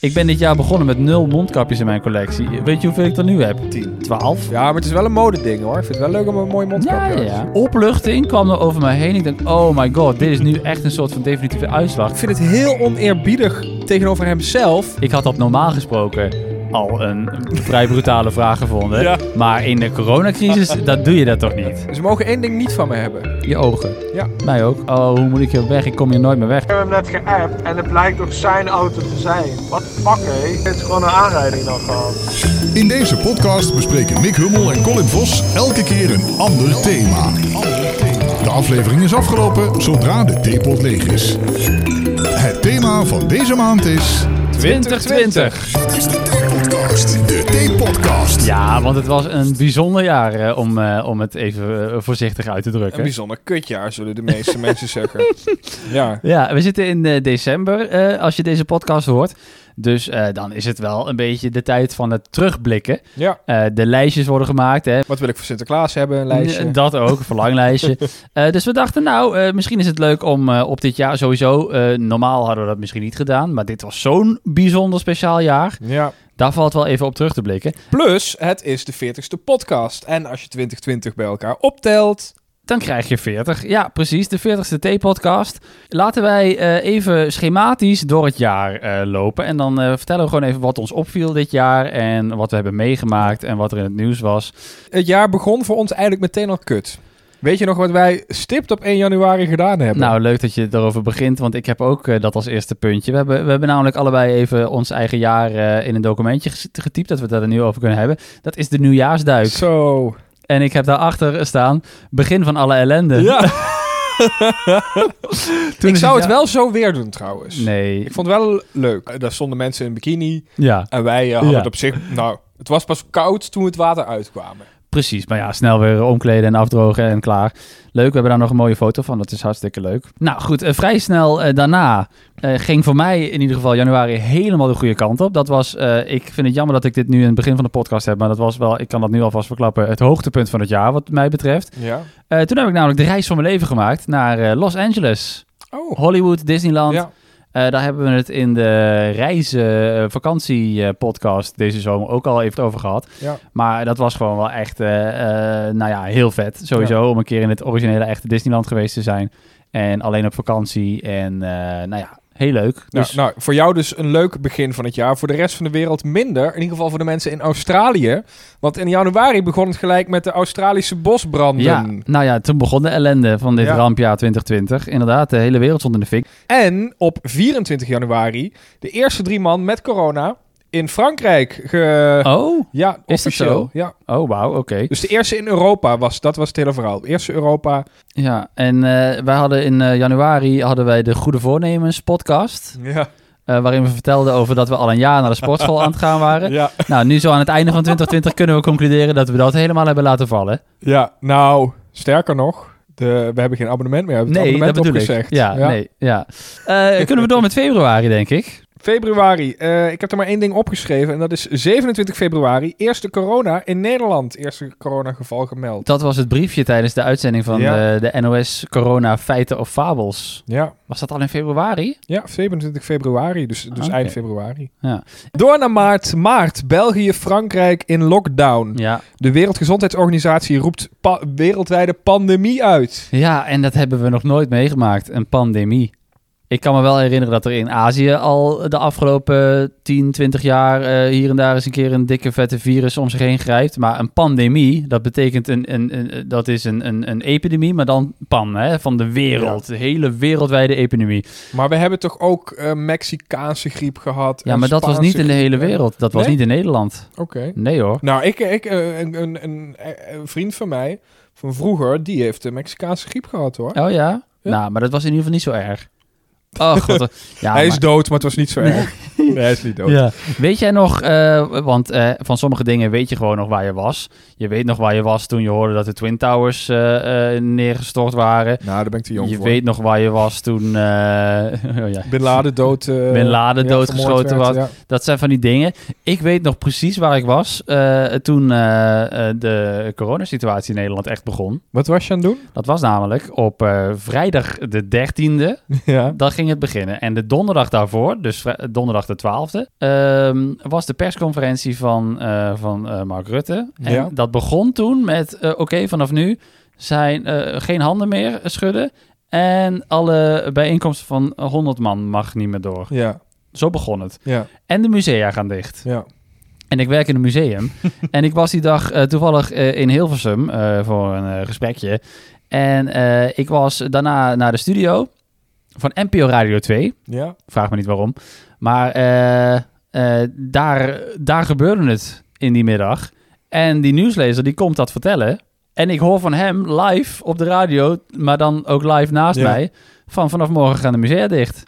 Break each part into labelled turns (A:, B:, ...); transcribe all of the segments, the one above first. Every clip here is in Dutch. A: Ik ben dit jaar begonnen met nul mondkapjes in mijn collectie. Weet je hoeveel ik er nu heb?
B: 10.
A: 12.
B: Ja, maar het is wel een modeding hoor. Ik vind het wel leuk om een mooie
A: Ja,
B: mondkapje
A: ja,
B: te
A: ja. Opluchting kwam er over mij heen. Ik denk, oh my god, dit is nu echt een soort van definitieve uitslag.
B: Ik vind het heel oneerbiedig tegenover hemzelf.
A: Ik had dat normaal gesproken al een vrij brutale vraag gevonden.
B: Ja.
A: Maar in de coronacrisis, dat doe je dat toch niet?
B: Ze mogen één ding niet van me hebben.
A: Je ogen.
B: Ja.
A: Mij ook. Oh, hoe moet ik hier weg? Ik kom hier nooit meer weg.
C: Ik heb hem net geappt en het blijkt toch zijn auto te zijn. Wat fuck hé? Het is gewoon een aanrijding dan gehad.
D: In deze podcast bespreken Mick Hummel en Colin Vos elke keer een ander thema. De aflevering is afgelopen zodra de theepot leeg is. Het thema van deze maand is...
B: 2020.
D: Dit is de theepodcast. De theepodcast.
A: Ja, want het was een bijzonder jaar eh, om, eh, om het even eh, voorzichtig uit te
B: Een
A: drukken.
B: bijzonder kutjaar, zullen de meeste mensen zeggen. Ja.
A: Ja, we zitten in eh, december eh, als je deze podcast hoort. Dus eh, dan is het wel een beetje de tijd van het terugblikken.
B: ja.
A: Eh, de lijstjes worden gemaakt, hè.
B: Wat wil ik voor Sinterklaas hebben? Een lijstje.
A: N- Dat ook, een verlanglijstje. Eh, dus we dachten, nou, eh, misschien is het leuk om eh, op dit jaar sowieso... eh, normaal hadden we dat misschien niet gedaan, maar dit was zo'n bijzonder speciaal jaar.
B: Ja.
A: Daar valt wel even op terug te blikken.
B: Plus, het is de 40ste podcast. En als je 2020 bij elkaar optelt.
A: Dan krijg je 40. Ja, precies. De 40ste T-podcast. Laten wij eh, even schematisch door het jaar eh, lopen. En dan eh, vertellen we gewoon even wat ons opviel dit jaar. En wat we hebben meegemaakt. En wat er in het nieuws was.
B: Het jaar begon voor ons eigenlijk meteen al kut. Weet je nog wat wij stipt op 1 januari gedaan hebben?
A: Nou, leuk dat je erover begint. Want ik heb ook eh, dat als eerste puntje. We hebben, we hebben namelijk allebei even ons eigen jaar eh, in een documentje ges- getypt. Dat we het daar nu over kunnen hebben. Dat is de
B: zo.
A: nieuwjaarsduik. En ik heb daarachter staan. Begin van alle ellende.
B: Ja.
A: Toen
B: ik
A: is
B: zou
A: het
B: het wel zo weer doen trouwens.
A: Nee.
B: Ik vond het wel leuk. Eh, Daar stonden mensen in bikini.
A: Ja.
B: En wij eh, hadden
A: Ja.
B: het op zich... Nou, het was pas koud toen we het water uitkwamen.
A: Precies, maar ja, snel weer omkleden en afdrogen en klaar. Leuk, we hebben daar nog een mooie foto van, dat is hartstikke leuk. Nou goed, eh, vrij snel eh, daarna eh, ging voor mij in ieder geval januari helemaal de goede kant op. Dat was, eh, ik vind het jammer dat ik dit nu in het begin van de podcast heb, maar dat was wel, ik kan dat nu alvast verklappen, het hoogtepunt van het jaar wat mij betreft.
B: Ja.
A: Eh, toen heb ik namelijk de reis van mijn leven gemaakt naar eh, Los Angeles,
B: Oh.
A: Hollywood, Disneyland.
B: Ja. Nou,
A: Eh, daar hebben we het in de reizen vakantie podcast deze zomer ook al even over gehad.
B: Ja.
A: Maar dat was gewoon wel echt, eh, eh, nou ja, heel vet. Sowieso om een keer in het originele echte Disneyland geweest te zijn. En alleen op vakantie. En eh, nou ja, heel leuk.
B: Nou,
A: Dus
B: nou, voor jou dus een leuk begin van het jaar. Voor de rest van de wereld minder. In ieder geval voor de mensen in Australië. Want in januari begon het gelijk met de Australische bosbranden.
A: ja, nou ja, toen begon de ellende van dit
B: Ja.
A: rampjaar 2020. Inderdaad, de hele wereld stond in de fik.
B: En op 24 januari de eerste drie man met corona in Frankrijk. Ge...
A: Oh,
B: Ja,
A: Is dat
B: officieel.
A: zo?
B: Ja.
A: oh wauw, oké.
B: Dus de eerste in Europa was, dat was het hele verhaal. De eerste Europa.
A: Ja, en eh, wij hadden in eh, januari hadden wij de Goede Voornemens podcast.
B: Ja,
A: eh, waarin we vertelden over dat we al een jaar naar de sportschool aan het gaan waren.
B: ja.
A: Nou, nu zo aan het einde van 2020 kunnen we concluderen dat we dat helemaal hebben laten vallen.
B: ja. nou, sterker nog. De, we hebben geen abonnement meer. We hebben het
A: Nee, dat
B: abonnement
A: bedoel ik.
B: opgezegd.
A: Ja, nee, ja. Eh, kunnen we door met februari, denk ik?
B: Februari. Eh, ik heb er maar één ding opgeschreven. En dat is 27 februari. Eerste corona in Nederland. Eerste coronageval gemeld.
A: Dat was het briefje tijdens de uitzending van
B: Ja.
A: eh, de, NOS Corona Feiten of Fabels.
B: Ja,
A: Was dat al in februari?
B: ja 27 februari. Dus, dus
A: Ah, oké.
B: eind februari.
A: Ja.
B: Door naar maart. Maart. België, Frankrijk in lockdown.
A: Ja.
B: De Wereldgezondheidsorganisatie roept pa- wereldwijde pandemie uit.
A: Ja, en dat hebben we nog nooit meegemaakt, een pandemie. Ik kan me wel herinneren dat er in Azië al de afgelopen 10, 20 jaar eh, hier en daar eens een keer een dikke vette virus om zich heen grijpt. Maar een pandemie, dat betekent een, een, een- dat is een, een, een epidemie, maar dan pan, hè, van de wereld. De hele wereldwijde epidemie.
B: Maar we hebben toch ook eh, Mexicaanse griep gehad.
A: Ja,
B: en
A: maar dat was
B: Spaanse
A: niet in de hele
B: griep.
A: wereld. Dat was
B: Nee?
A: niet in Nederland.
B: Oké.
A: Nee hoor.
B: Nou, ik, ik, eh, een, een, een, eh, een vriend van mij van vroeger, die heeft de Mexicaanse griep gehad hoor.
A: Oh ja?
B: Ja.
A: Nou, maar dat was in ieder geval niet zo erg. Oh god. Ja,
B: hij
A: maar-
B: is dood, maar het was niet zo erg. Nee, hij is niet dood.
A: Ja. Weet jij nog, eh, want eh, van sommige dingen weet je gewoon nog waar je was. Je weet nog waar je was toen je hoorde dat de Twin Towers eh, eh, neergestort waren.
B: Nou, daar ben ik te jong
A: je
B: voor.
A: weet nog waar je was toen eh, oh ja,
B: Bin Laden dood... eh,
A: Bin Laden
B: ja,
A: doodgeschoten
B: vermoord werd,
A: dat zijn van die dingen. Ik weet nog precies waar ik was eh, toen eh, eh, de coronasituatie in Nederland echt begon.
B: ja. Wat was je aan het doen?
A: Dat was namelijk op eh, vrijdag de 13e.
B: ja.
A: Dan ging ging het beginnen. En de donderdag daarvoor, dus vrij- donderdag de 12e, ehm, was de persconferentie van, eh, van eh, Mark Rutte. En
B: Ja.
A: dat begon toen met: eh, oké, vanaf nu zijn eh, geen handen meer schudden. En alle bijeenkomsten van 100 man mag niet meer door.
B: Ja,
A: Zo begon het.
B: ja,
A: En de musea gaan dicht.
B: ja.
A: En ik werk in een museum. en ik was die dag eh, toevallig eh, in Hilversum eh, voor een eh, gesprekje. En eh, ik was daarna naar de studio van NPO Radio 2.
B: Ja,
A: Vraag me niet waarom. Maar eh, eh, daar, daar gebeurde het in die middag. En die nieuwslezer die komt dat vertellen. En ik hoor van hem live op de radio, maar dan ook live naast
B: Ja.
A: mij... van vanaf morgen gaan de musea dicht.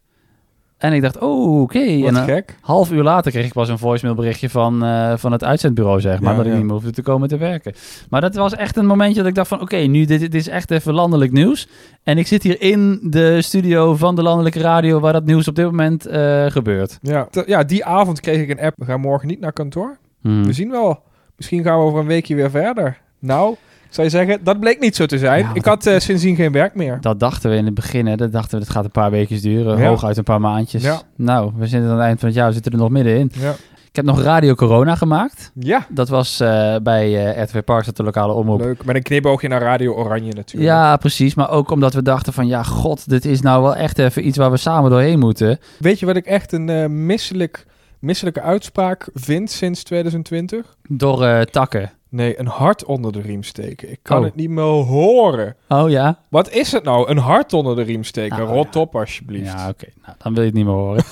A: En ik dacht, oh, oké. En
B: wat
A: dan-
B: gek.
A: Half uur later kreeg ik pas een voicemailberichtje van, eh, van het uitzendbureau, zeg maar.
B: Ja,
A: dat ik
B: ja.
A: niet meer hoefde te komen te werken. Maar dat was echt een momentje dat ik dacht van... Oké, nu dit, dit is echt even landelijk nieuws. En ik zit hier in de studio van de landelijke radio... waar dat nieuws op dit moment eh, gebeurt.
B: Ja. Te- ja, die avond kreeg ik een app. We gaan morgen niet naar kantoor.
A: Hmm.
B: We zien wel. Misschien gaan we over een weekje weer verder. Nou, ik zou je zeggen, dat bleek niet zo te zijn.
A: Ja,
B: ik
A: dat-
B: had eh, sindsdien geen werk meer.
A: Dat dachten we in het begin, hè. Dat dachten we, dat gaat een paar weken duren.
B: Ja.
A: Hooguit een paar maandjes.
B: Ja.
A: Nou, we zitten aan het eind van het jaar, we zitten er nog middenin.
B: Ja.
A: Ik heb nog Radio Corona gemaakt.
B: ja.
A: Dat was eh, bij eh RTV Parks, dat de lokale omroep.
B: Leuk. Met een knipoogje naar Radio Oranje natuurlijk.
A: Ja, precies. Maar ook omdat we dachten van... ja, god, dit is nou wel echt even iets waar we samen doorheen moeten.
B: Weet je wat ik echt een eh, misselijk, misselijke uitspraak vind sinds 2020?
A: Door eh, takken.
B: Nee, een hart onder de riem steken. Ik kan
A: Oh.
B: het niet meer horen.
A: Oh ja?
B: Wat is het nou? Een hart onder de riem steken.
A: Nou,
B: Rot op alsjeblieft.
A: Ja, oké. Nou, dan wil je het niet meer horen.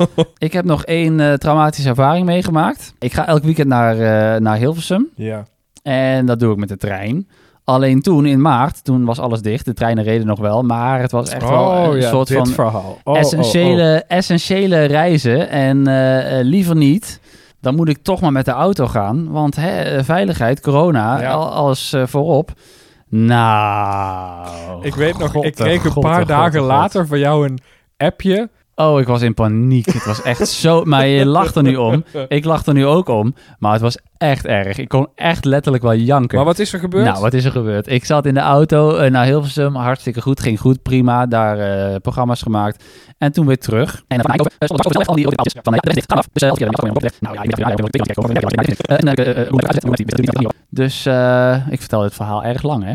A: ik heb nog één eh, traumatische ervaring meegemaakt. Ik ga elk weekend naar, eh, naar Hilversum.
B: ja.
A: En dat doe ik met de trein. Alleen toen, in maart, toen was alles dicht. De treinen reden nog wel. Maar het was echt wel een
B: Oh, ja,
A: soort
B: dit
A: van...
B: verhaal. Oh,
A: essentiële, essentiële reizen. En eh, eh, liever niet. Dan moet ik toch maar met de auto gaan. Want hè, eh, veiligheid, corona,
B: Ja.
A: al, alles eh, voorop. Nou.
B: oh. Ik weet nog,
A: God,
B: ik kreeg
A: God,
B: een paar
A: God,
B: dagen
A: God.
B: later van jou een appje.
A: Oh, ik was in paniek. Het was echt zo. Maar je lacht er nu om. Ik lach er nu ook om. Maar het was echt erg. Ik kon echt letterlijk wel janken.
B: Maar wat is er gebeurd?
A: Nou, wat is er gebeurd? Ik zat in de auto eh, naar Hilversum. Hartstikke goed. Ging goed. Prima. Daar eh, programma's gemaakt. En toen weer terug. En dan Dus eh, ik vertel dit verhaal erg lang, hè?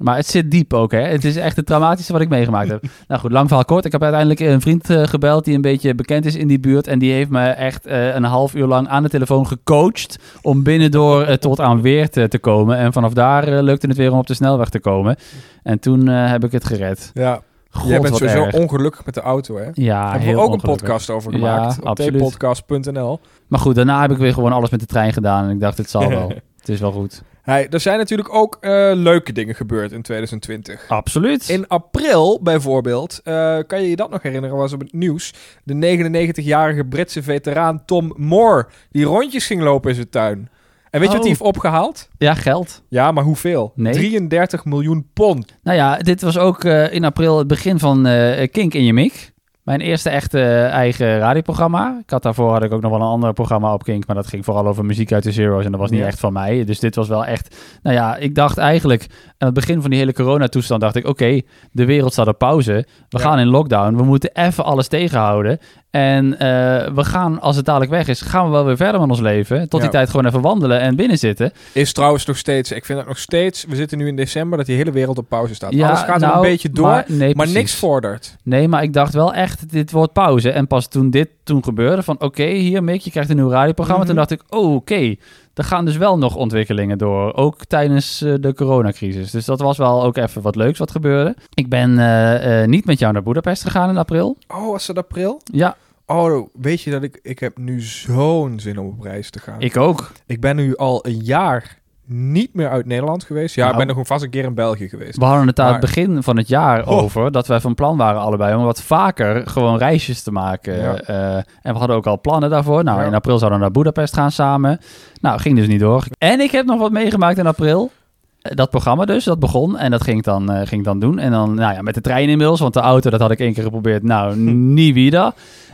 A: Maar het zit diep ook, hè? Het is echt het traumatische wat ik meegemaakt heb. Nou goed, lang verhaal kort. Ik heb uiteindelijk een vriend eh, gebeld die een beetje bekend is in die buurt. En die heeft me echt eh, een half uur lang aan de telefoon gecoacht om binnendoor eh, tot aan Weert eh, te komen. En vanaf daar eh, lukte het weer om op de snelweg te komen. En toen eh, heb ik het gered.
B: ja,
A: God,
B: jij bent
A: wat
B: sowieso
A: erg.
B: ongelukkig met de auto, hè?
A: Ja,
B: Hebben
A: heel
B: we ook een
A: ongelukkig.
B: podcast over
A: Ja,
B: gemaakt. op
A: absoluut.
B: tpodcast.nl.
A: Maar goed, daarna heb ik weer gewoon alles met de trein gedaan. En ik dacht, het zal wel. het is wel goed.
B: Hey, er zijn natuurlijk ook eh, leuke dingen gebeurd in 2020.
A: Absoluut.
B: In april bijvoorbeeld, eh, kan je je dat nog herinneren, was op het nieuws. De 99-jarige Britse veteraan Tom Moore, die rondjes ging lopen in zijn tuin. En weet je wat
A: Oh.
B: hij heeft opgehaald?
A: Ja, geld.
B: Ja, maar hoeveel?
A: Nee.
B: 33 miljoen pond.
A: Nou ja, dit was ook eh, in april het begin van eh, Kink in je Mik. Mijn eerste echte eh, eigen radioprogramma. Ik had daarvoor had ik ook nog wel een ander programma op Kink, maar dat ging vooral over muziek uit de Zero's en dat was niet
B: Ja.
A: echt van mij. Dus dit was wel echt. Nou ja, ik dacht eigenlijk aan het begin van die hele coronatoestand dacht ik, oké, de wereld staat op pauze. We
B: Ja.
A: gaan in lockdown. We moeten even alles tegenhouden. En eh, we gaan, als het dadelijk weg is, gaan we wel weer verder met ons leven. Tot die
B: Ja.
A: tijd gewoon even wandelen en binnen zitten.
B: Is trouwens nog steeds, ik vind dat nog steeds, we zitten nu in december, dat die hele wereld op pauze staat.
A: Ja,
B: Alles gaat er
A: nou,
B: een beetje door, maar,
A: nee, precies.
B: niks vordert.
A: Nee, maar ik dacht wel echt, dit wordt pauze. En pas toen dit toen gebeurde, van oké, hier Mick, je krijgt een nieuw radioprogramma.
B: Mhm.
A: Toen dacht ik, oh, oké, er gaan dus wel nog ontwikkelingen door. Ook tijdens eh, de coronacrisis. Dus dat was wel ook even wat leuks wat gebeurde. Ik ben eh, eh, niet met jou naar Boedapest gegaan in april.
B: Oh, was dat april?
A: Ja,
B: Oh, weet je dat ik, ik heb nu zo'n zin om op reis te gaan.
A: ik ook.
B: Ik ben nu al een jaar niet meer uit Nederland geweest. Ja,
A: Nou.
B: ik ben nog een vast een keer in België geweest.
A: We hadden het aan
B: Maar-
A: het begin van het jaar
B: Oh.
A: over dat wij van plan waren allebei om wat vaker gewoon reisjes te maken.
B: Ja.
A: Eh, en we hadden ook al plannen daarvoor. Nou,
B: Ja.
A: in april zouden we naar Boedapest gaan samen. Nou, ging dus niet door. En ik heb nog wat meegemaakt in april. Eh, Dat programma dus, dat begon en dat ging ik dan, eh, ging ik dan doen. En dan, nou ja, met de trein inmiddels, want de auto, dat had ik één keer geprobeerd. Nou, niet wieder.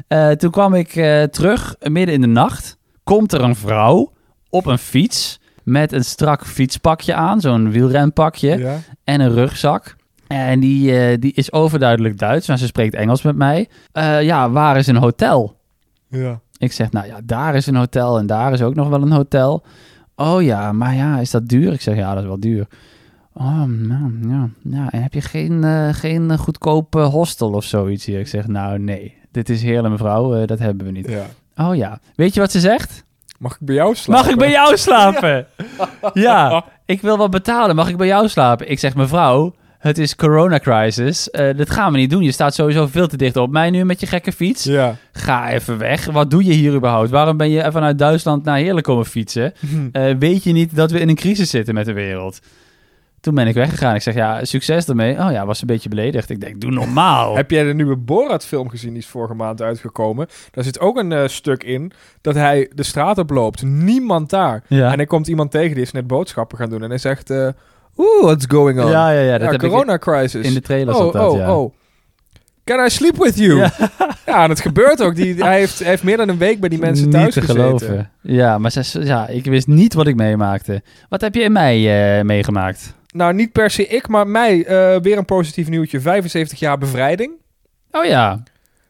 A: Eh, toen kwam ik eh, terug, eh, midden in de nacht. Komt er een vrouw op een fiets met een strak fietspakje aan, zo'n wielrenpakje
B: Ja.
A: en een rugzak. En die, eh, die is overduidelijk Duits, maar ze spreekt Engels met mij. Eh, ja, waar is een hotel?
B: Ja.
A: Ik zeg, nou ja, daar is een hotel en daar is ook nog wel een hotel. Oh ja, maar ja, is dat duur? Ik zeg, ja, dat is wel duur. Oh, nou, ja. ja. En heb je geen, eh geen goedkope hostel of zoiets hier? Ik zeg, nou nee, dit is heerlijk mevrouw, eh, dat hebben we niet.
B: ja.
A: Oh ja, weet je wat ze zegt?
B: Mag ik bij jou slapen?
A: Mag ik bij jou slapen? Ja. ik wil wat betalen. Mag ik bij jou slapen? Ik zeg, mevrouw, het is coronacrisis. Eh dat gaan we niet doen. Je staat sowieso veel te dicht op mij nu met je gekke fiets.
B: Ja.
A: Ga even weg. Wat doe je hier überhaupt? Waarom ben je vanuit Duitsland naar Heerlijk komen fietsen? Eh, weet je niet dat we in een crisis zitten met de wereld? Toen ben ik weggegaan. Ik zeg, ja, succes ermee. Oh ja, was een beetje beledigd. Ik denk, doe normaal.
B: Heb jij de nieuwe Borat-film gezien? Die is vorige maand uitgekomen. Daar zit ook een eh, stuk in dat hij de straat oploopt. Niemand daar.
A: Ja.
B: En er komt iemand tegen die is net boodschappen gaan doen. En hij zegt... eh Oeh, what's going on?
A: ja, ja, ja. Dat
B: Ja,
A: heb ik
B: coronacrisis.
A: in de trailer
B: oh,
A: zat dat,
B: oh,
A: ja.
B: oh. Can I sleep with you?
A: Ja.
B: Ja, en het gebeurt ook. Die, hij, heeft, hij heeft meer dan een week bij die mensen
A: niet
B: thuis
A: te
B: gezeten.
A: geloven. Ja, maar ze, ja, ik wist niet wat ik meemaakte. Wat heb je in mei eh, meegemaakt?
B: Nou, niet per se ik, maar mij. eh, weer een positief nieuwtje. 75 jaar bevrijding.
A: Oh ja,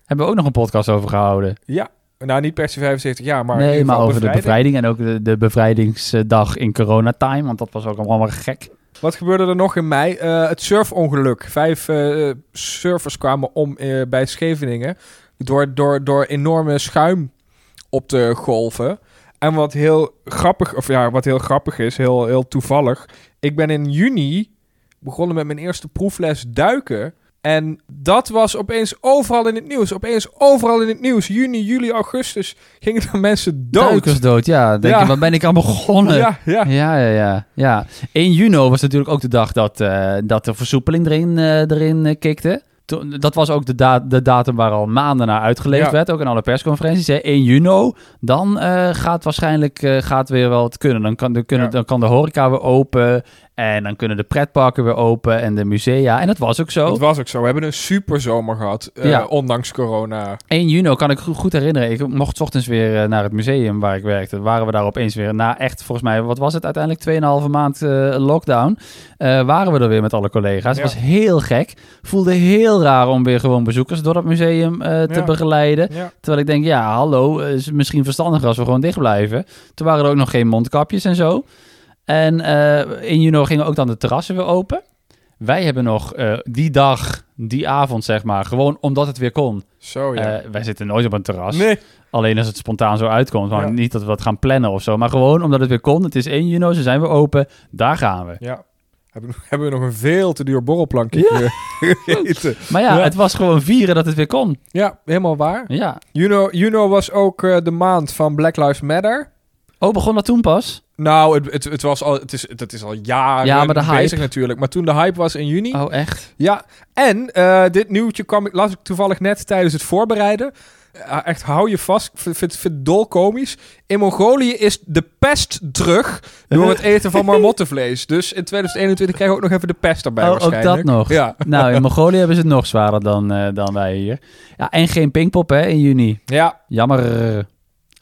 A: hebben we ook nog een podcast over gehouden.
B: Ja. Nou, niet per se 75 jaar, maar in
A: nee,
B: ieder
A: maar
B: geval
A: over de bevrijding en ook de, de bevrijdingsdag in coronatime, want dat was ook allemaal gek.
B: Wat gebeurde er nog in mei? Eh, het surfongeluk. Vijf eh, surfers kwamen om eh, bij Scheveningen door, door, door enorme schuim op de golven. En wat heel grappig, of ja, wat heel grappig is, heel, heel toevallig. Ik ben in juni begonnen met mijn eerste proefles duiken. En dat was opeens overal in het nieuws. Opeens overal in het nieuws. Juni, juli, augustus gingen er mensen dood.
A: Duikersdood, ja. Denk
B: Ja.
A: je, waar ben ik aan begonnen?
B: Ja, ja.
A: Ja, ja, ja, ja. 1 juni was natuurlijk ook de dag dat, eh, dat de versoepeling erin, eh, erin eh, kikte. Toen- Dat was ook de, da- de datum waar al maanden naar uitgeleefd
B: Ja.
A: werd, ook in alle persconferenties. Hè. 1 juni, dan eh, gaat waarschijnlijk eh, gaat weer wel het kunnen. Dan kan, de, kunnen,
B: Ja.
A: dan kan de horeca weer open en dan kunnen de pretparken weer open en de musea. En dat was ook zo.
B: Dat was ook zo. We hebben een super zomer gehad, eh,
A: Ja.
B: ondanks corona.
A: 1 juni kan ik go- goed herinneren. Ik mocht 's ochtends weer eh, naar het museum waar ik werkte. Waren we daar opeens weer na echt, volgens mij, wat was het uiteindelijk? 2,5 maand eh, lockdown. eh, waren we er weer met alle collega's.
B: Ja.
A: Het was heel gek. Voelde heel raar om weer gewoon bezoekers door dat museum eh, te
B: Ja.
A: begeleiden.
B: Ja.
A: Terwijl ik denk, ja, hallo, eh, is het misschien verstandiger als we gewoon dicht blijven. Toen waren er ook nog geen mondkapjes en zo. En eh, in juni gingen ook dan de terrassen weer open. Wij hebben nog eh, die dag, die avond zeg maar, gewoon omdat het weer kon.
B: Zo ja.
A: Eh, wij zitten nooit op een terras.
B: nee.
A: Alleen als het spontaan zo uitkomt. Maar
B: Ja.
A: niet dat we dat gaan plannen of zo. Maar gewoon omdat het weer kon. Het is 1 juni, ze zijn weer open. Daar gaan we.
B: Ja. Hebben, hebben we nog een veel te duur borrelplankje gegeten.
A: Maar ja,
B: Ja.
A: het was gewoon vieren dat het weer kon.
B: Ja, helemaal waar.
A: Ja.
B: Juno, Juno was ook eh, de maand van Black Lives Matter.
A: Oh, begon dat toen pas?
B: Nou, het, het, het was al, het is, dat is al jaren
A: Ja, maar de hype.
B: bezig natuurlijk. Maar toen de hype was in juni.
A: Oh, echt?
B: Ja, en eh, dit nieuwtje kwam, ik- las ik toevallig net tijdens het voorbereiden. Eh, echt, hou je vast. Ik vind- vind vind het dolkomisch. In Mongolië is de pest terug door het eten van marmottenvlees. Dus in 2021 krijgen we ook nog even de pest erbij
A: Oh, ook
B: waarschijnlijk.
A: dat nog.
B: Ja.
A: Nou, in Mongolië hebben ze het nog zwaarder dan, eh, dan wij hier. Ja, en geen pingpop hè, in juni.
B: ja,
A: Jammer.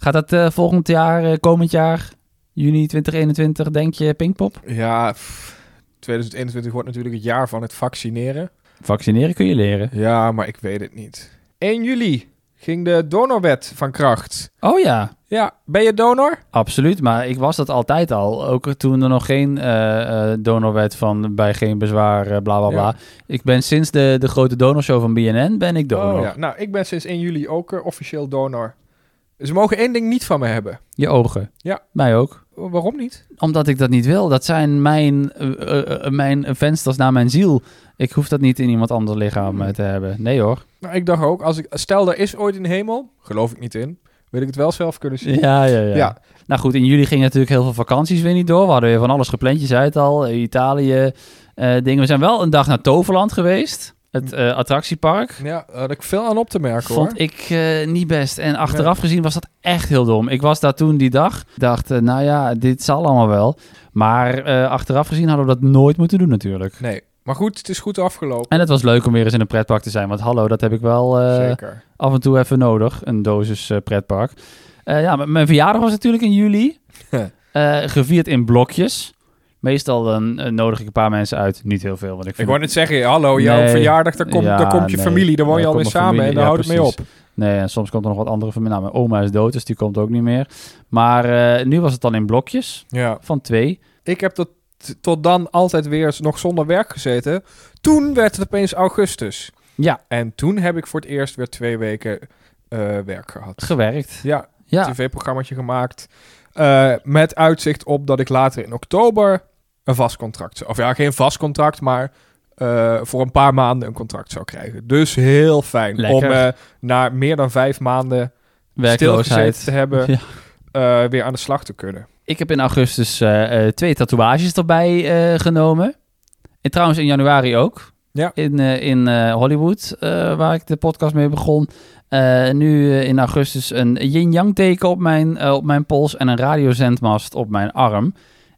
A: Gaat dat eh, volgend jaar, eh, komend jaar, juni 2021, denk je, pingpop?
B: Ja, pff, 2021 wordt natuurlijk het jaar van het vaccineren.
A: Vaccineren kun je leren.
B: Ja, maar ik weet het niet. 1 juli ging de donorwet van kracht.
A: Oh ja,
B: Ja, ben je donor?
A: Absoluut, maar ik was dat altijd al. Ook toen er nog geen eh, eh, donorwet van bij geen bezwaar, eh, bla bla bla.
B: Ja.
A: Ik ben sinds de, de grote donorshow van BNN ben ik donor.
B: Oh, ja. Nou, ik ben sinds 1 juli ook eh, officieel donor. Ze mogen één ding niet van me hebben.
A: Je ogen.
B: Ja.
A: Mij ook.
B: Waarom niet?
A: Omdat ik dat Oh, niet wil. Dat zijn mijn, eh, eh, eh, mijn vensters naar mijn ziel. Ik hoef dat niet in iemand anders
B: Hmm.
A: lichaam eh, te hebben. Nee hoor.
B: Nou, ik dacht ook, als ik, stel er is ooit een hemel, geloof ik niet in, wil ik het wel zelf kunnen zien.
A: Ja, ja, ja.
B: Ja.
A: Nou goed, in juli gingen natuurlijk heel veel vakanties weer niet door. We hadden weer van alles gepland. Je zei het al, eh, Italië, eh, dingen. We zijn wel een dag naar Toverland geweest. Het
B: Hmm.
A: eh, attractiepark.
B: Ja, daar had ik veel aan op te merken hoor.
A: Vond ik eh, niet best. En achteraf gezien was dat echt heel dom. Ik was daar toen die dag. Dacht, eh, nou ja, dit zal allemaal wel. Maar eh, achteraf gezien hadden we dat nooit moeten doen natuurlijk.
B: Nee, maar goed, het is goed afgelopen.
A: En het was leuk om weer eens in een pretpark te zijn. Want hallo, dat heb ik wel eh,
B: Zeker.
A: af en toe even nodig. Een dosis eh, pretpark. Eh, ja, m- mijn verjaardag was natuurlijk in juli. Eh, gevierd in blokjes. Meestal dan eh, nodig ik een paar mensen uit. Niet heel veel, want ik
B: Ik
A: vind
B: wou net zeggen, hallo, jouw
A: Nee.
B: verjaardag, daar, komt
A: Ja,
B: daar komt je
A: nee.
B: familie, daar woon je
A: Daar
B: alweer
A: komt mijn
B: samen en
A: familie,
B: daar
A: ja,
B: houdt het mee op.
A: precies. Nee, en soms komt er nog wat andere van Nou, mijn oma is dood, dus die komt ook niet meer. Maar eh, nu was het dan in blokjes
B: Ja.
A: van twee.
B: Ik heb tot, tot dan altijd weer eens nog zonder werk gezeten. Toen werd het opeens augustus.
A: Ja,
B: En toen heb ik voor het eerst weer twee weken eh, werk gehad.
A: gewerkt.
B: Ja,
A: Ja,
B: tv-programmaatje gemaakt. eh, met uitzicht op dat ik later in oktober een vast contract zou... Of ja, geen vast contract, maar eh, voor een paar maanden een contract zou krijgen. Dus heel fijn om
A: Lekker.
B: eh, na meer dan vijf maanden stilgezeten
A: werkloosheid.
B: te hebben...
A: Ja.
B: eh, weer aan de slag te kunnen.
A: Ik heb in augustus eh, eh, twee tatoeages erbij eh, genomen. En trouwens in januari ook.
B: Ja.
A: In, eh, in eh, Hollywood, eh, waar ik de podcast mee begon. Eh, nu eh, in augustus een yin-yang teken op mijn, eh, op mijn pols en een radiozendmast op mijn arm.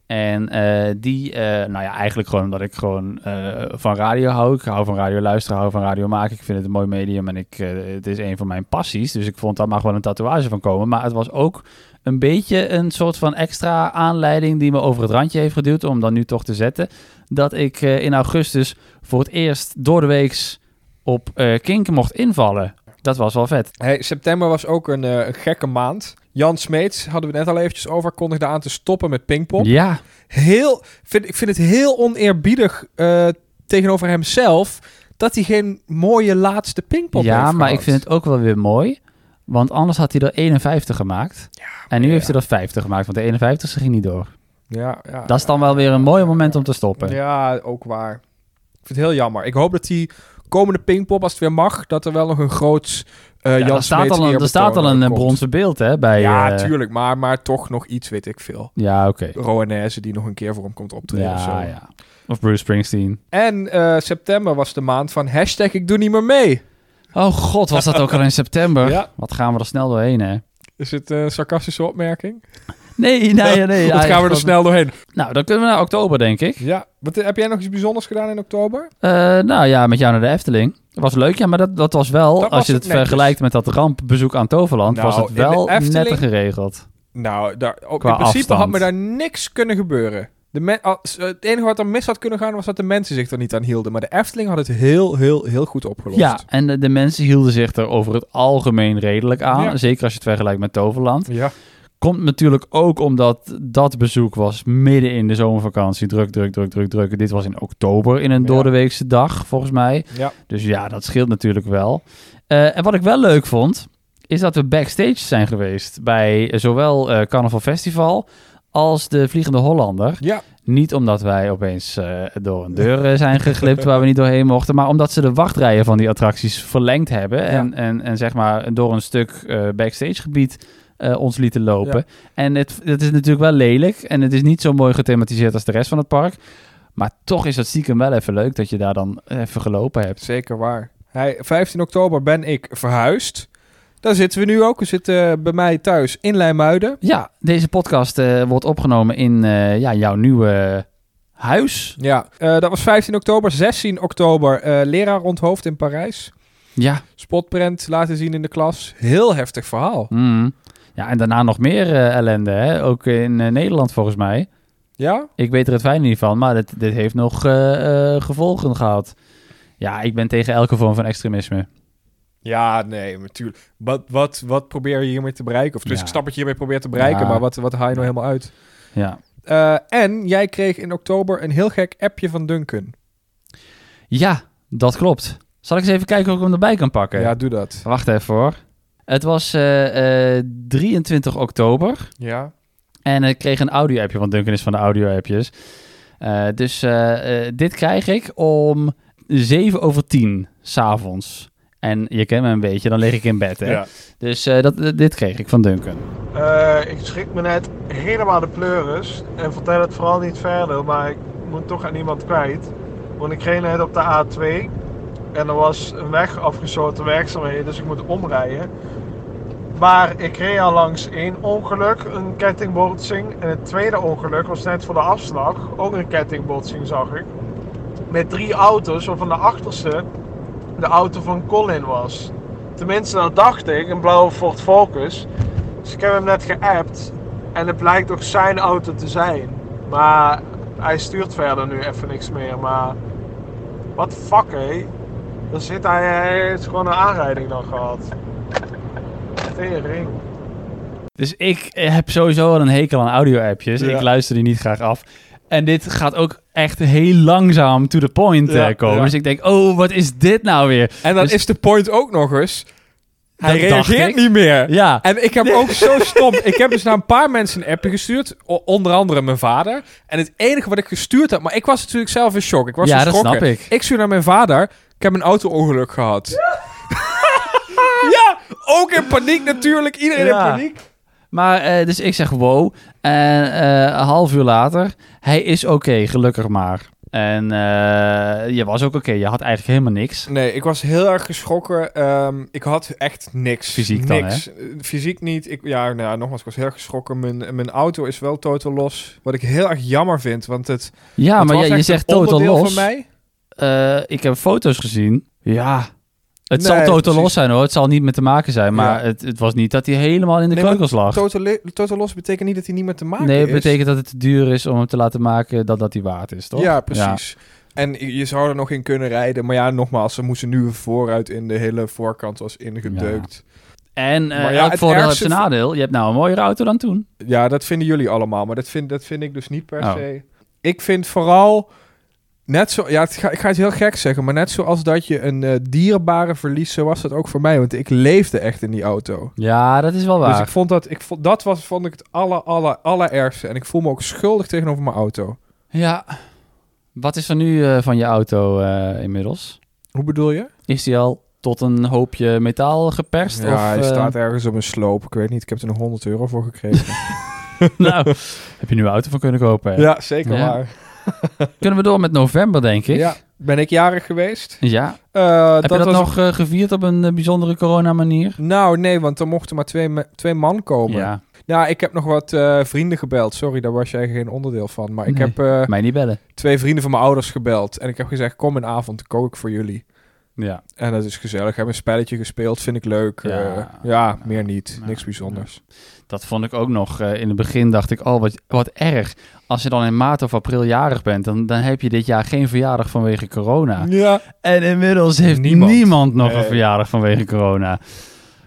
A: En eh, die, eh, nou ja, eigenlijk gewoon omdat ik gewoon eh, van radio hou. Ik hou van radio luisteren, hou van radio maken. Ik vind het een mooi medium en ik, eh, het is een van mijn passies. Dus ik vond daar mag wel een tatoeage van komen. Maar het was ook een beetje een soort van extra aanleiding die me over het randje heeft geduwd om dan nu toch te zetten. Dat ik eh, in augustus voor het eerst door de weeks op eh kinken mocht invallen. Dat was wel vet.
B: Hey, september was ook een, eh, een gekke maand. Jan Smeets, hadden we net al eventjes over, kondigde aan te stoppen met pingpong.
A: Ja,
B: heel, vind, ik vind het heel oneerbiedig eh, tegenover hemzelf dat hij geen mooie laatste pingpong heeft
A: ja maar
B: gehad.
A: ik vind het ook wel weer mooi. Want anders had hij er 51 gemaakt. en nu
B: ja.
A: heeft hij er 50 gemaakt, want de 51 ste ging niet door.
B: Ja, ja,
A: Dat is dan wel weer een mooi moment om te stoppen.
B: Ah. ja, ook waar. Ik vind het heel jammer. Ik hoop dat die komende pingpong, als het weer mag, dat er wel nog een groot eh
A: Ja,
B: Jan
A: er staat
B: Smeets
A: al een, er staat al
B: eerbetoon
A: een eh,
B: komt.
A: bronzen beeld hè, bij...
B: Ja,
A: eh,
B: tuurlijk, maar, maar toch nog iets, weet ik veel.
A: Ja, oké.
B: Roanese die nog een keer voor hem komt optreden of zo.
A: Ja, ja. Of Bruce Springsteen.
B: En eh, september was de maand van hashtag ik doe niet meer mee.
A: Oh god, was dat ook al in september?
B: Ja.
A: Wat gaan we er snel doorheen, hè?
B: Is het een sarcastische opmerking?
A: Nee, nee, nee.
B: Wat gaan we er snel doorheen?
A: Nou, dan kunnen we naar oktober, denk ik.
B: Ja, wat, heb jij nog iets bijzonders gedaan in oktober?
A: Eh, nou ja, met jou naar de Efteling. Dat was leuk, ja, maar dat, dat was wel...
B: Dat
A: als
B: was
A: je
B: het
A: het
B: netjes.
A: vergelijkt met dat rampbezoek aan Toverland...
B: Nou,
A: was het
B: in de
A: wel
B: Efteling-
A: netter geregeld.
B: Nou, daar, ook, in
A: Qua
B: principe
A: afstand.
B: had me daar niks kunnen gebeuren. De men, als, eh, het enige wat er mis had kunnen gaan was dat de mensen zich er niet aan hielden. Maar de Efteling had het heel, heel, heel goed opgelost.
A: Ja, en de, de mensen hielden zich er over het algemeen redelijk aan.
B: Ja.
A: Zeker als je het vergelijkt met Toverland.
B: ja.
A: Komt natuurlijk ook omdat dat bezoek was midden in de zomervakantie. Druk, druk, druk, druk, druk. Dit was in oktober in een
B: Ja.
A: doordeweekse dag, volgens mij.
B: ja.
A: Dus ja, dat scheelt natuurlijk wel. Eh, en wat ik wel leuk vond, is dat we backstage zijn geweest bij eh, zowel eh, Carnaval Festival als de Vliegende Hollander.
B: Ja.
A: Niet omdat wij opeens eh, door een deur eh, zijn geglipt waar we niet doorheen mochten, maar omdat ze de wachtrijen van die attracties verlengd hebben en, en, en zeg maar door een stuk eh, backstage gebied eh, ons lieten lopen. En het, het is natuurlijk wel lelijk en het is niet zo mooi gethematiseerd als de rest van het park. Maar toch is dat stiekem wel even leuk dat je daar dan even gelopen hebt.
B: Zeker waar. Hij, 15 oktober ben ik verhuisd. Daar zitten we nu ook. We zitten eh, bij mij thuis in Leimuiden.
A: Ja, deze podcast eh, wordt opgenomen in eh, ja, jouw nieuwe huis.
B: Ja, eh, dat was 15 oktober. 16 oktober, eh, leraar onthoofd in Parijs.
A: Ja.
B: Spotprint laten zien in de klas. Heel heftig verhaal.
A: Mm. Ja, en daarna nog meer eh, ellende, hè? ook in eh, Nederland volgens mij.
B: Ja?
A: Ik weet er het fijne niet van, maar dit, dit heeft nog eh, eh, gevolgen gehad. Ja, ik ben tegen elke vorm van extremisme.
B: Ja, nee, natuurlijk. Wat, wat, wat probeer je hiermee te bereiken? Of dus
A: Ja.
B: ik snap wat je hiermee probeert te bereiken,
A: Ja.
B: maar wat, wat haal je nou helemaal uit?
A: Ja.
B: Eh, en jij kreeg in oktober een heel gek appje van Duncan.
A: ja, dat klopt. Zal ik eens even kijken of ik hem erbij kan pakken?
B: Ja, doe dat.
A: Wacht even hoor. Het was eh, eh, 23 oktober.
B: Ja.
A: En ik kreeg een audio-appje, want Duncan is van de audio-appjes. Eh, dus eh, eh, dit krijg ik om 7 over 10 s'avonds. En je kent me een beetje, dan lig ik in bed. Hè?
B: Ja.
A: Dus eh, dat, eh, dit kreeg ik van Duncan.
C: Eh, ik schrik me net helemaal de pleuris. En vertel het vooral niet verder, maar ik moet toch aan iemand kwijt. Want ik reed net op de A2 en er was een weg afgesloten werkzaamheden, dus ik moet omrijden. Maar ik reed al langs één ongeluk, een kettingbotsing. En het tweede ongeluk was net voor de afslag, ook een kettingbotsing zag ik. Met drie auto's, waarvan de achterste de auto van Colin was. Tenminste, dat dacht ik, een blauwe Ford Focus. Dus ik heb hem net geappt en het blijkt ook zijn auto te zijn. Maar hij stuurt verder nu even niks meer, maar... Wat fuck, hé? Dan zit hij... Hij heeft gewoon een aanrijding dan gehad. Tering.
A: Dus ik heb sowieso al een hekel aan audio-appjes.
B: Ja.
A: Ik luister die niet graag af. En dit gaat ook echt heel langzaam to the point
B: Ja,
A: eh, komen.
B: ja.
A: Dus ik denk, oh, wat is dit nou weer?
B: En dan
A: Dus-
B: is de point ook nog eens. Hij
A: Dat dacht
B: reageert
A: ik.
B: niet meer.
A: Ja,
B: En ik heb ook zo stom. Ik heb dus naar een paar mensen een appje gestuurd. o- Onder andere mijn vader. En het enige wat ik gestuurd heb. Maar ik was natuurlijk zelf in shock. Ik was
A: ja dat
B: geschrokken.
A: snap ik.
B: Ik stuur naar mijn vader. Ik heb een auto-ongeluk gehad. Ja. ook in paniek natuurlijk. Iedereen
A: Ja.
B: in paniek.
A: Maar eh, dus ik zeg wow. En eh, een half uur later, hij is oké, gelukkig maar. En eh, je was ook oké, je had eigenlijk helemaal niks.
B: Nee, ik was heel erg geschrokken. Ehm, ik had echt niks.
A: Fysiek dan,
B: niks. Eh, Fysiek niet. Ik, ja, nou ja, nogmaals, ik was heel erg geschrokken. Mijn, mijn auto is wel totaal los. Wat ik heel erg jammer vind, want het...
A: Ja,
B: het
A: Ah, maar
B: was
A: ja, je
B: echt
A: zegt
B: een
A: totaal
B: onderdeel
A: los.
B: Van mij.
A: Eh, ik heb foto's gezien. Ja, het
B: Nee,
A: zal totaal
B: precies.
A: los zijn hoor. Het zal niet meer te maken zijn. Maar
B: Ja.
A: het, het was niet dat hij helemaal in de
B: Nee, maar
A: kreukels lag.
B: Total, li- total loss betekent niet dat hij niet meer te maken
A: Nee,
B: is.
A: het betekent dat het te duur is om hem te laten maken dat dat hij waard is, toch?
B: Ja, precies. En je je zou er nog in kunnen rijden. Maar ja, nogmaals, ze moesten nu vooruit in de hele voorkant was ingedeukt.
A: En eh
B: Maar ja,
A: elk
B: het
A: voordeel heeft
B: ergste
A: zijn
B: va-
A: nadeel. Je hebt nou een mooiere auto dan toen.
B: Ja, dat vinden jullie allemaal. Maar dat vind, dat vind ik dus niet per
A: Oh.
B: se. Ik vind vooral net zo... Ja, het ga, ik ga het heel gek zeggen. Maar net zoals dat je een eh, dierbare verliest, zo was dat ook voor mij. Want ik leefde echt in die auto.
A: Ja, dat is wel waar.
B: Dus ik vond dat... Ik vond, dat was, vond ik het aller, aller, allerergste. En ik voel me ook schuldig tegenover mijn auto.
A: Ja. Wat is er nu eh, van je auto eh, inmiddels?
B: Hoe bedoel je?
A: Is die al tot een hoopje metaal geperst?
B: Ja,
A: of,
B: hij
A: eh,
B: staat ergens op een sloop. Ik weet niet, ik heb er nog 100 euro voor gekregen.
A: nou, heb je nu een auto van kunnen kopen? hè?
B: ja, zeker
A: Ja.
B: waar.
A: Kunnen we door met november, denk ik?
B: Ja, ben ik jarig geweest?
A: Ja.
B: Eh,
A: Heb je dat
B: was
A: nog eh, gevierd op een eh, bijzondere corona-manier?
B: Nou, nee, want er mochten maar twee, me- twee man komen.
A: Ja,
B: Nou, ik heb nog wat eh, vrienden gebeld. Sorry, daar was jij geen onderdeel van. Maar ik
A: Nee.
B: heb eh,
A: mij niet bellen.
B: twee vrienden van mijn ouders gebeld. En ik heb gezegd, kom een avond, dan kook ik voor jullie.
A: Ja.
B: En dat is gezellig. We hebben een spelletje gespeeld, vind ik leuk.
A: Ja.
B: Eh, Ja,
A: Ja.
B: meer niet.
A: Ja.
B: Niks bijzonders.
A: Dat vond ik ook nog. eh, in het begin dacht ik, oh, wat, wat erg. Als je dan in maart of april jarig bent, dan, dan heb je dit jaar geen verjaardag vanwege corona.
B: Ja.
A: En inmiddels heeft niemand,
B: Niemand.
A: nog een
B: Nee.
A: verjaardag vanwege corona.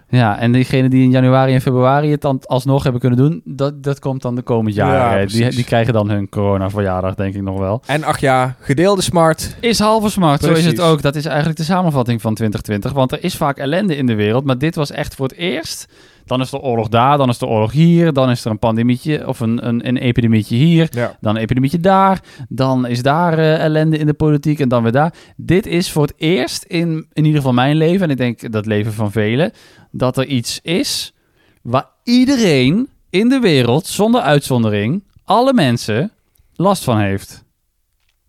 A: Ja, en diegenen die in januari en februari het dan alsnog hebben kunnen doen, dat, dat komt dan de komend jaar.
B: Ja,
A: hè. die,
B: precies.
A: die krijgen dan hun corona-verjaardag, denk ik nog wel.
B: En ach ja, gedeelde smart.
A: Is halve smart, zo is
B: Precies.
A: het ook. Dat is eigenlijk de samenvatting van 2020. Want er is vaak ellende in de wereld, maar dit was echt voor het eerst. Dan is de oorlog daar, dan is de oorlog hier, dan is er een pandemietje of een, een, een epidemietje hier,
B: Ja.
A: dan een epidemietje daar, dan is daar eh, ellende in de politiek en dan weer daar. Dit is voor het eerst in, in ieder geval mijn leven, en ik denk dat leven van velen, dat er iets is waar iedereen in de wereld, zonder uitzondering, alle mensen last van heeft.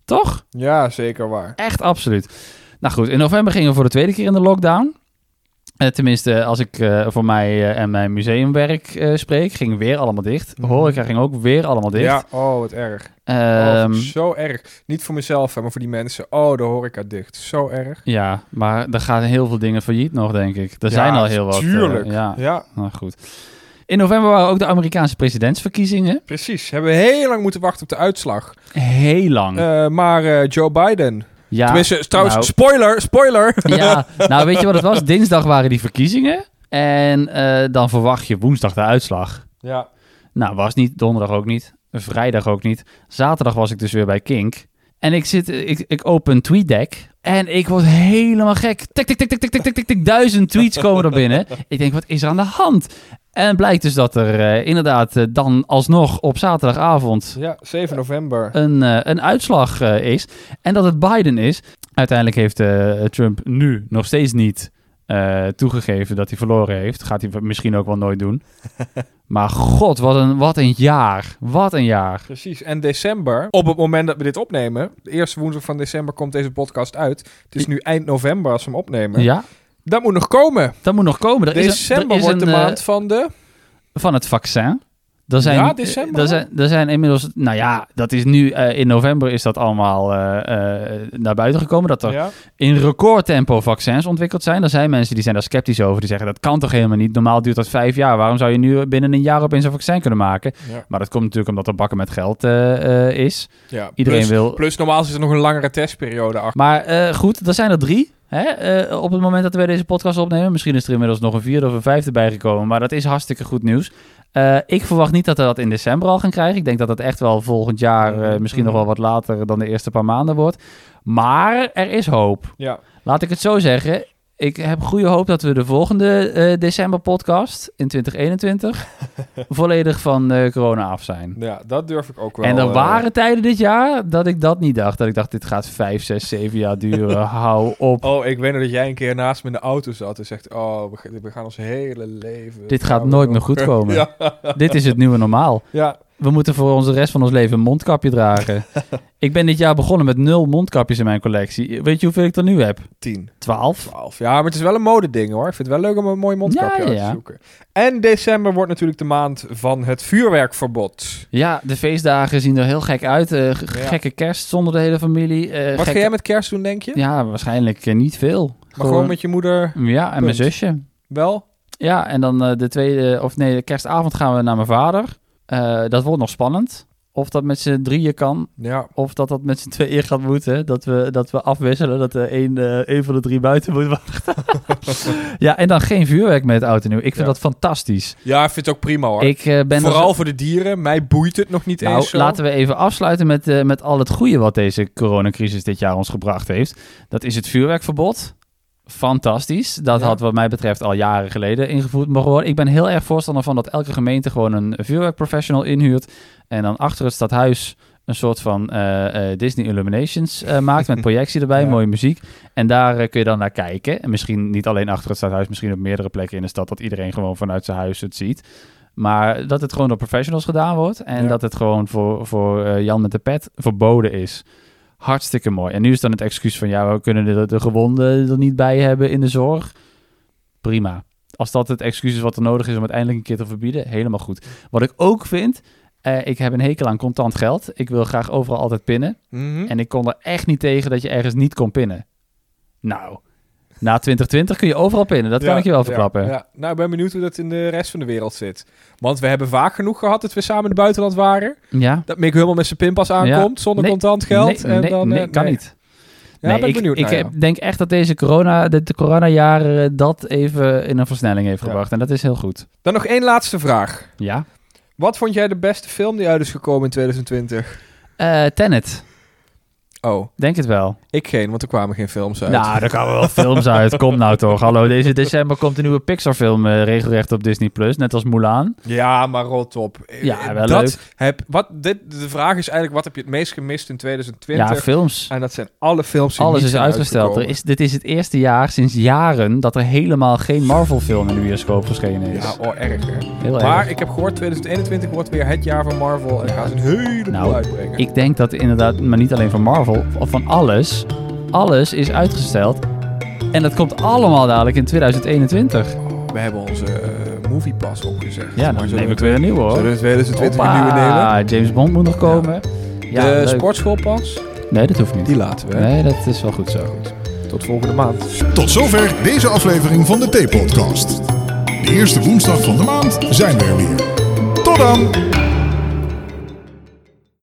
A: Toch?
B: Ja, zeker waar.
A: Echt absoluut. Nou goed, in november gingen we voor de tweede keer in de lockdown. Eh, tenminste, als ik eh, voor mij eh, en mijn museumwerk eh, spreek, ging weer allemaal dicht.
B: Mhm.
A: Horeca ging ook weer allemaal dicht.
B: Ja, oh, wat erg. Oh,
A: Ehm,
B: vind ik zo erg. Niet voor mezelf, hè, maar voor die mensen. Oh, de horeca dicht. Zo erg.
A: ja, maar er gaan heel veel dingen failliet nog, denk ik. Er
B: Ja,
A: zijn al heel wat. eh,
B: tuurlijk.
A: ja,
B: Ja,
A: nou goed. In november waren ook de Amerikaanse presidentsverkiezingen.
B: precies. Hebben we heel lang moeten wachten op de uitslag.
A: Heel lang.
B: Eh, maar eh, Joe Biden.
A: Hm. ja,
B: Tenminste, trouwens,
A: nou.
B: spoiler, spoiler.
A: ja, nou weet je wat het was? Dinsdag waren die verkiezingen. En eh, dan verwacht je woensdag de uitslag.
B: Ja.
A: Nou, was niet. Donderdag ook niet. Vrijdag ook niet. Zaterdag was ik dus weer bij Kink. En ik zit, ik, ik open TweetDeck en ik word helemaal gek. Tik, tik, tik, tik, tik, tik, tik, tik, tik. Duizend tweets komen er binnen. Ik denk, wat is er aan de hand? En blijkt dus dat er eh, inderdaad eh, dan alsnog op zaterdagavond
B: ja, 7 november.
A: een, eh, een uitslag eh, is. En dat het Biden is. Uiteindelijk heeft eh, Trump nu nog steeds niet eh, toegegeven dat hij verloren heeft. Gaat hij misschien ook wel nooit doen. maar god, wat een, wat een jaar. Wat een jaar.
B: Precies. En december, op het moment dat we dit opnemen, de eerste woensdag van december komt deze podcast uit. Het is nu eind november als we hem opnemen.
A: Ja,
B: Dat moet nog komen.
A: dat moet nog komen. Er is een- er
B: december
A: is
B: wordt
A: een,
B: de
A: eh,
B: maand van de...
A: van het vaccin. Er zijn,
B: Ja, december
A: Er
B: al?
A: zijn, er zijn inmiddels, nou ja, dat is nu eh, in november is dat allemaal eh, eh, naar buiten gekomen. Dat er
B: Ja?
A: in recordtempo vaccins ontwikkeld zijn. Er zijn mensen die zijn daar sceptisch over. Die zeggen dat kan toch helemaal niet. Normaal duurt dat vijf jaar. Waarom zou je nu binnen een jaar opeens een vaccin kunnen maken?
B: Ja.
A: Maar dat komt natuurlijk omdat er bakken met geld eh, eh, is.
B: Ja.
A: Iedereen
B: plus,
A: wil.
B: Plus normaal is er nog een langere testperiode achter.
A: Maar eh, goed, er zijn er drie. Hè? eh, op het moment dat wij deze podcast opnemen. Misschien is er inmiddels nog een vierde of een vijfde bijgekomen. Maar dat is hartstikke goed nieuws. Eh, ik verwacht niet dat we dat in december al gaan krijgen. Ik denk dat dat echt wel volgend jaar, eh, misschien nog wel wat later dan de eerste paar maanden wordt. Maar er is hoop.
B: Ja.
A: Laat ik het zo zeggen. Ik heb goede hoop dat we de volgende eh, december podcast in 2021 volledig van eh, corona af zijn.
B: ja, dat durf ik ook wel.
A: en er
B: eh,
A: waren tijden dit jaar dat ik dat niet dacht. Dat ik dacht, dit gaat 5, 6, 7 jaar duren. Hou op.
B: Oh, ik weet nog dat jij een keer naast me in de auto zat en zegt... Oh, we, ga- we gaan ons hele leven...
A: Dit gaat
B: gaan we
A: nooit
B: nog-
A: meer goed komen.
B: ja,
A: Dit is het nieuwe normaal.
B: ja,
A: We moeten voor onze rest van ons leven een mondkapje dragen. ik ben dit jaar begonnen met nul mondkapjes in mijn collectie. Weet je hoeveel ik er nu heb?
B: tien,
A: 12.
B: twaalf. Ja, maar het is wel een modeding hoor. Ik vind het wel leuk om een mooi mondkapje
A: Ja,
B: uit te
A: ja.
B: zoeken. En december wordt natuurlijk de maand van het vuurwerkverbod.
A: Ja, de feestdagen zien er heel gek uit. Eh, g-
B: Ja.
A: Gekke kerst zonder de hele familie. Eh,
B: Wat
A: gekke-
B: ga jij met kerst doen, denk je?
A: Ja, waarschijnlijk eh, niet veel.
B: maar gewoon met je moeder
A: Ja, en mijn
B: Punt.
A: zusje.
B: wel?
A: Ja, en dan eh, de tweede... Of nee, de kerstavond gaan we naar mijn vader. Eh, dat wordt nog spannend. Of dat met z'n drieën kan.
B: Ja.
A: Of dat dat met z'n tweeën gaat moeten. Dat we, dat we afwisselen. Dat er één, eh, één van de drie buiten moet wachten. ja, en dan geen vuurwerk met oud en nieuw. Ik vind
B: Ja.
A: dat fantastisch.
B: ja, ik vind het ook prima hoor.
A: Ik eh, ben er
B: Vooral voor de dieren. Mij boeit het nog niet
A: Nou,
B: eens zo.
A: laten we even afsluiten met, eh, met al het goede wat deze coronacrisis dit jaar ons gebracht heeft. Dat is het vuurwerkverbod. Fantastisch. Dat
B: Ja.
A: had wat mij betreft al jaren geleden ingevoerd mogen worden. Ik ben heel erg voorstander van dat elke gemeente gewoon een vuurwerkprofessional inhuurt. En dan achter het stadhuis een soort van eh, eh, Disney Illuminations eh, maakt met projectie erbij,
B: Ja.
A: mooie muziek. En daar eh, kun je dan naar kijken. En misschien niet alleen achter het stadhuis, misschien op meerdere plekken in de stad, dat iedereen gewoon vanuit zijn huis het ziet. Maar dat het gewoon door professionals gedaan wordt. En
B: Ja.
A: dat het gewoon voor, voor eh, Jan met de pet verboden is. Hartstikke mooi. En nu is dan het excuus van ja, we kunnen de, de gewonden er niet bij hebben in de zorg. Prima. Als dat het excuus is wat er nodig is om het eindelijk een keer te verbieden, helemaal goed. Wat ik ook vind, eh, ik heb een hekel aan contant geld. Ik wil graag overal altijd pinnen.
B: Mhm.
A: En ik kon er echt niet tegen dat je ergens niet kon pinnen. Nou, na 2020 kun je overal pinnen. Dat kan
B: Ja,
A: ik je wel
B: ja,
A: verklappen.
B: ja. Nou, ik ben benieuwd hoe dat in de rest van de wereld zit. Want we hebben vaak genoeg gehad dat we samen in het buitenland waren.
A: ja?
B: Dat Mick helemaal met zijn pinpas aankomt zonder
A: Nee,
B: contant geld.
A: Nee,
B: en
A: nee,
B: dan, eh,
A: nee, kan
B: nee.
A: niet.
B: Ja,
A: nee,
B: ben ik
A: ik,
B: benieuwd
A: ik
B: naar, ja.
A: heb- denk echt dat deze corona, de, de coronajaren eh, dat even in een versnelling heeft
B: Ja.
A: gebracht. En dat is heel goed.
B: Dan nog één laatste vraag.
A: Ja.
B: Wat vond jij de beste film die uit is gekomen in 2020?
A: Eh Tenet,
B: Oh,
A: denk het wel.
B: ik geen, want er kwamen geen films uit.
A: Nou, daar komen wel films uit. Kom nou toch. Hallo, deze december komt een nieuwe Pixar-film eh, regelrecht op Disney+. Plus, Net als Mulan.
B: Ja, maar rot op. Eh,
A: Ja, wel
B: dat
A: leuk.
B: Heb, wat, dit, de vraag is eigenlijk, wat heb je het meest gemist in 2020?
A: Ja, films.
B: en dat zijn alle films die
A: Alles
B: niet
A: is
B: zijn
A: uitgesteld. Er
B: uitgekomen.
A: is, dit is het eerste jaar sinds jaren dat er helemaal geen Marvel-film in de bioscoop verschenen is.
B: Ja, oh, erg hè.
A: Heel erg.
B: Maar ik heb gehoord, 2021 wordt weer het jaar van Marvel. En dan gaan ze een heleboel
A: Nou,
B: uitbrengen.
A: Ik denk dat inderdaad, maar niet alleen van Marvel, of van alles. Alles is uitgesteld. En dat komt allemaal dadelijk in 2021.
B: We hebben onze eh, moviepas opgezegd.
A: Ja, dan
B: zullen
A: neem
B: we
A: ik weer een nieuwe hoor.
B: Zullen we in 2020 een nieuwe nemen?
A: Hoppa, James Bond moet nog komen. Ja,
B: de
A: leuk.
B: sportschoolpas,
A: Nee, dat hoeft niet.
B: die laten we.
A: Nee, dat is wel goed zo.
B: Tot volgende maand.
D: Tot zover deze aflevering van de Theepodcast. De eerste woensdag van de maand zijn we er weer. Tot dan!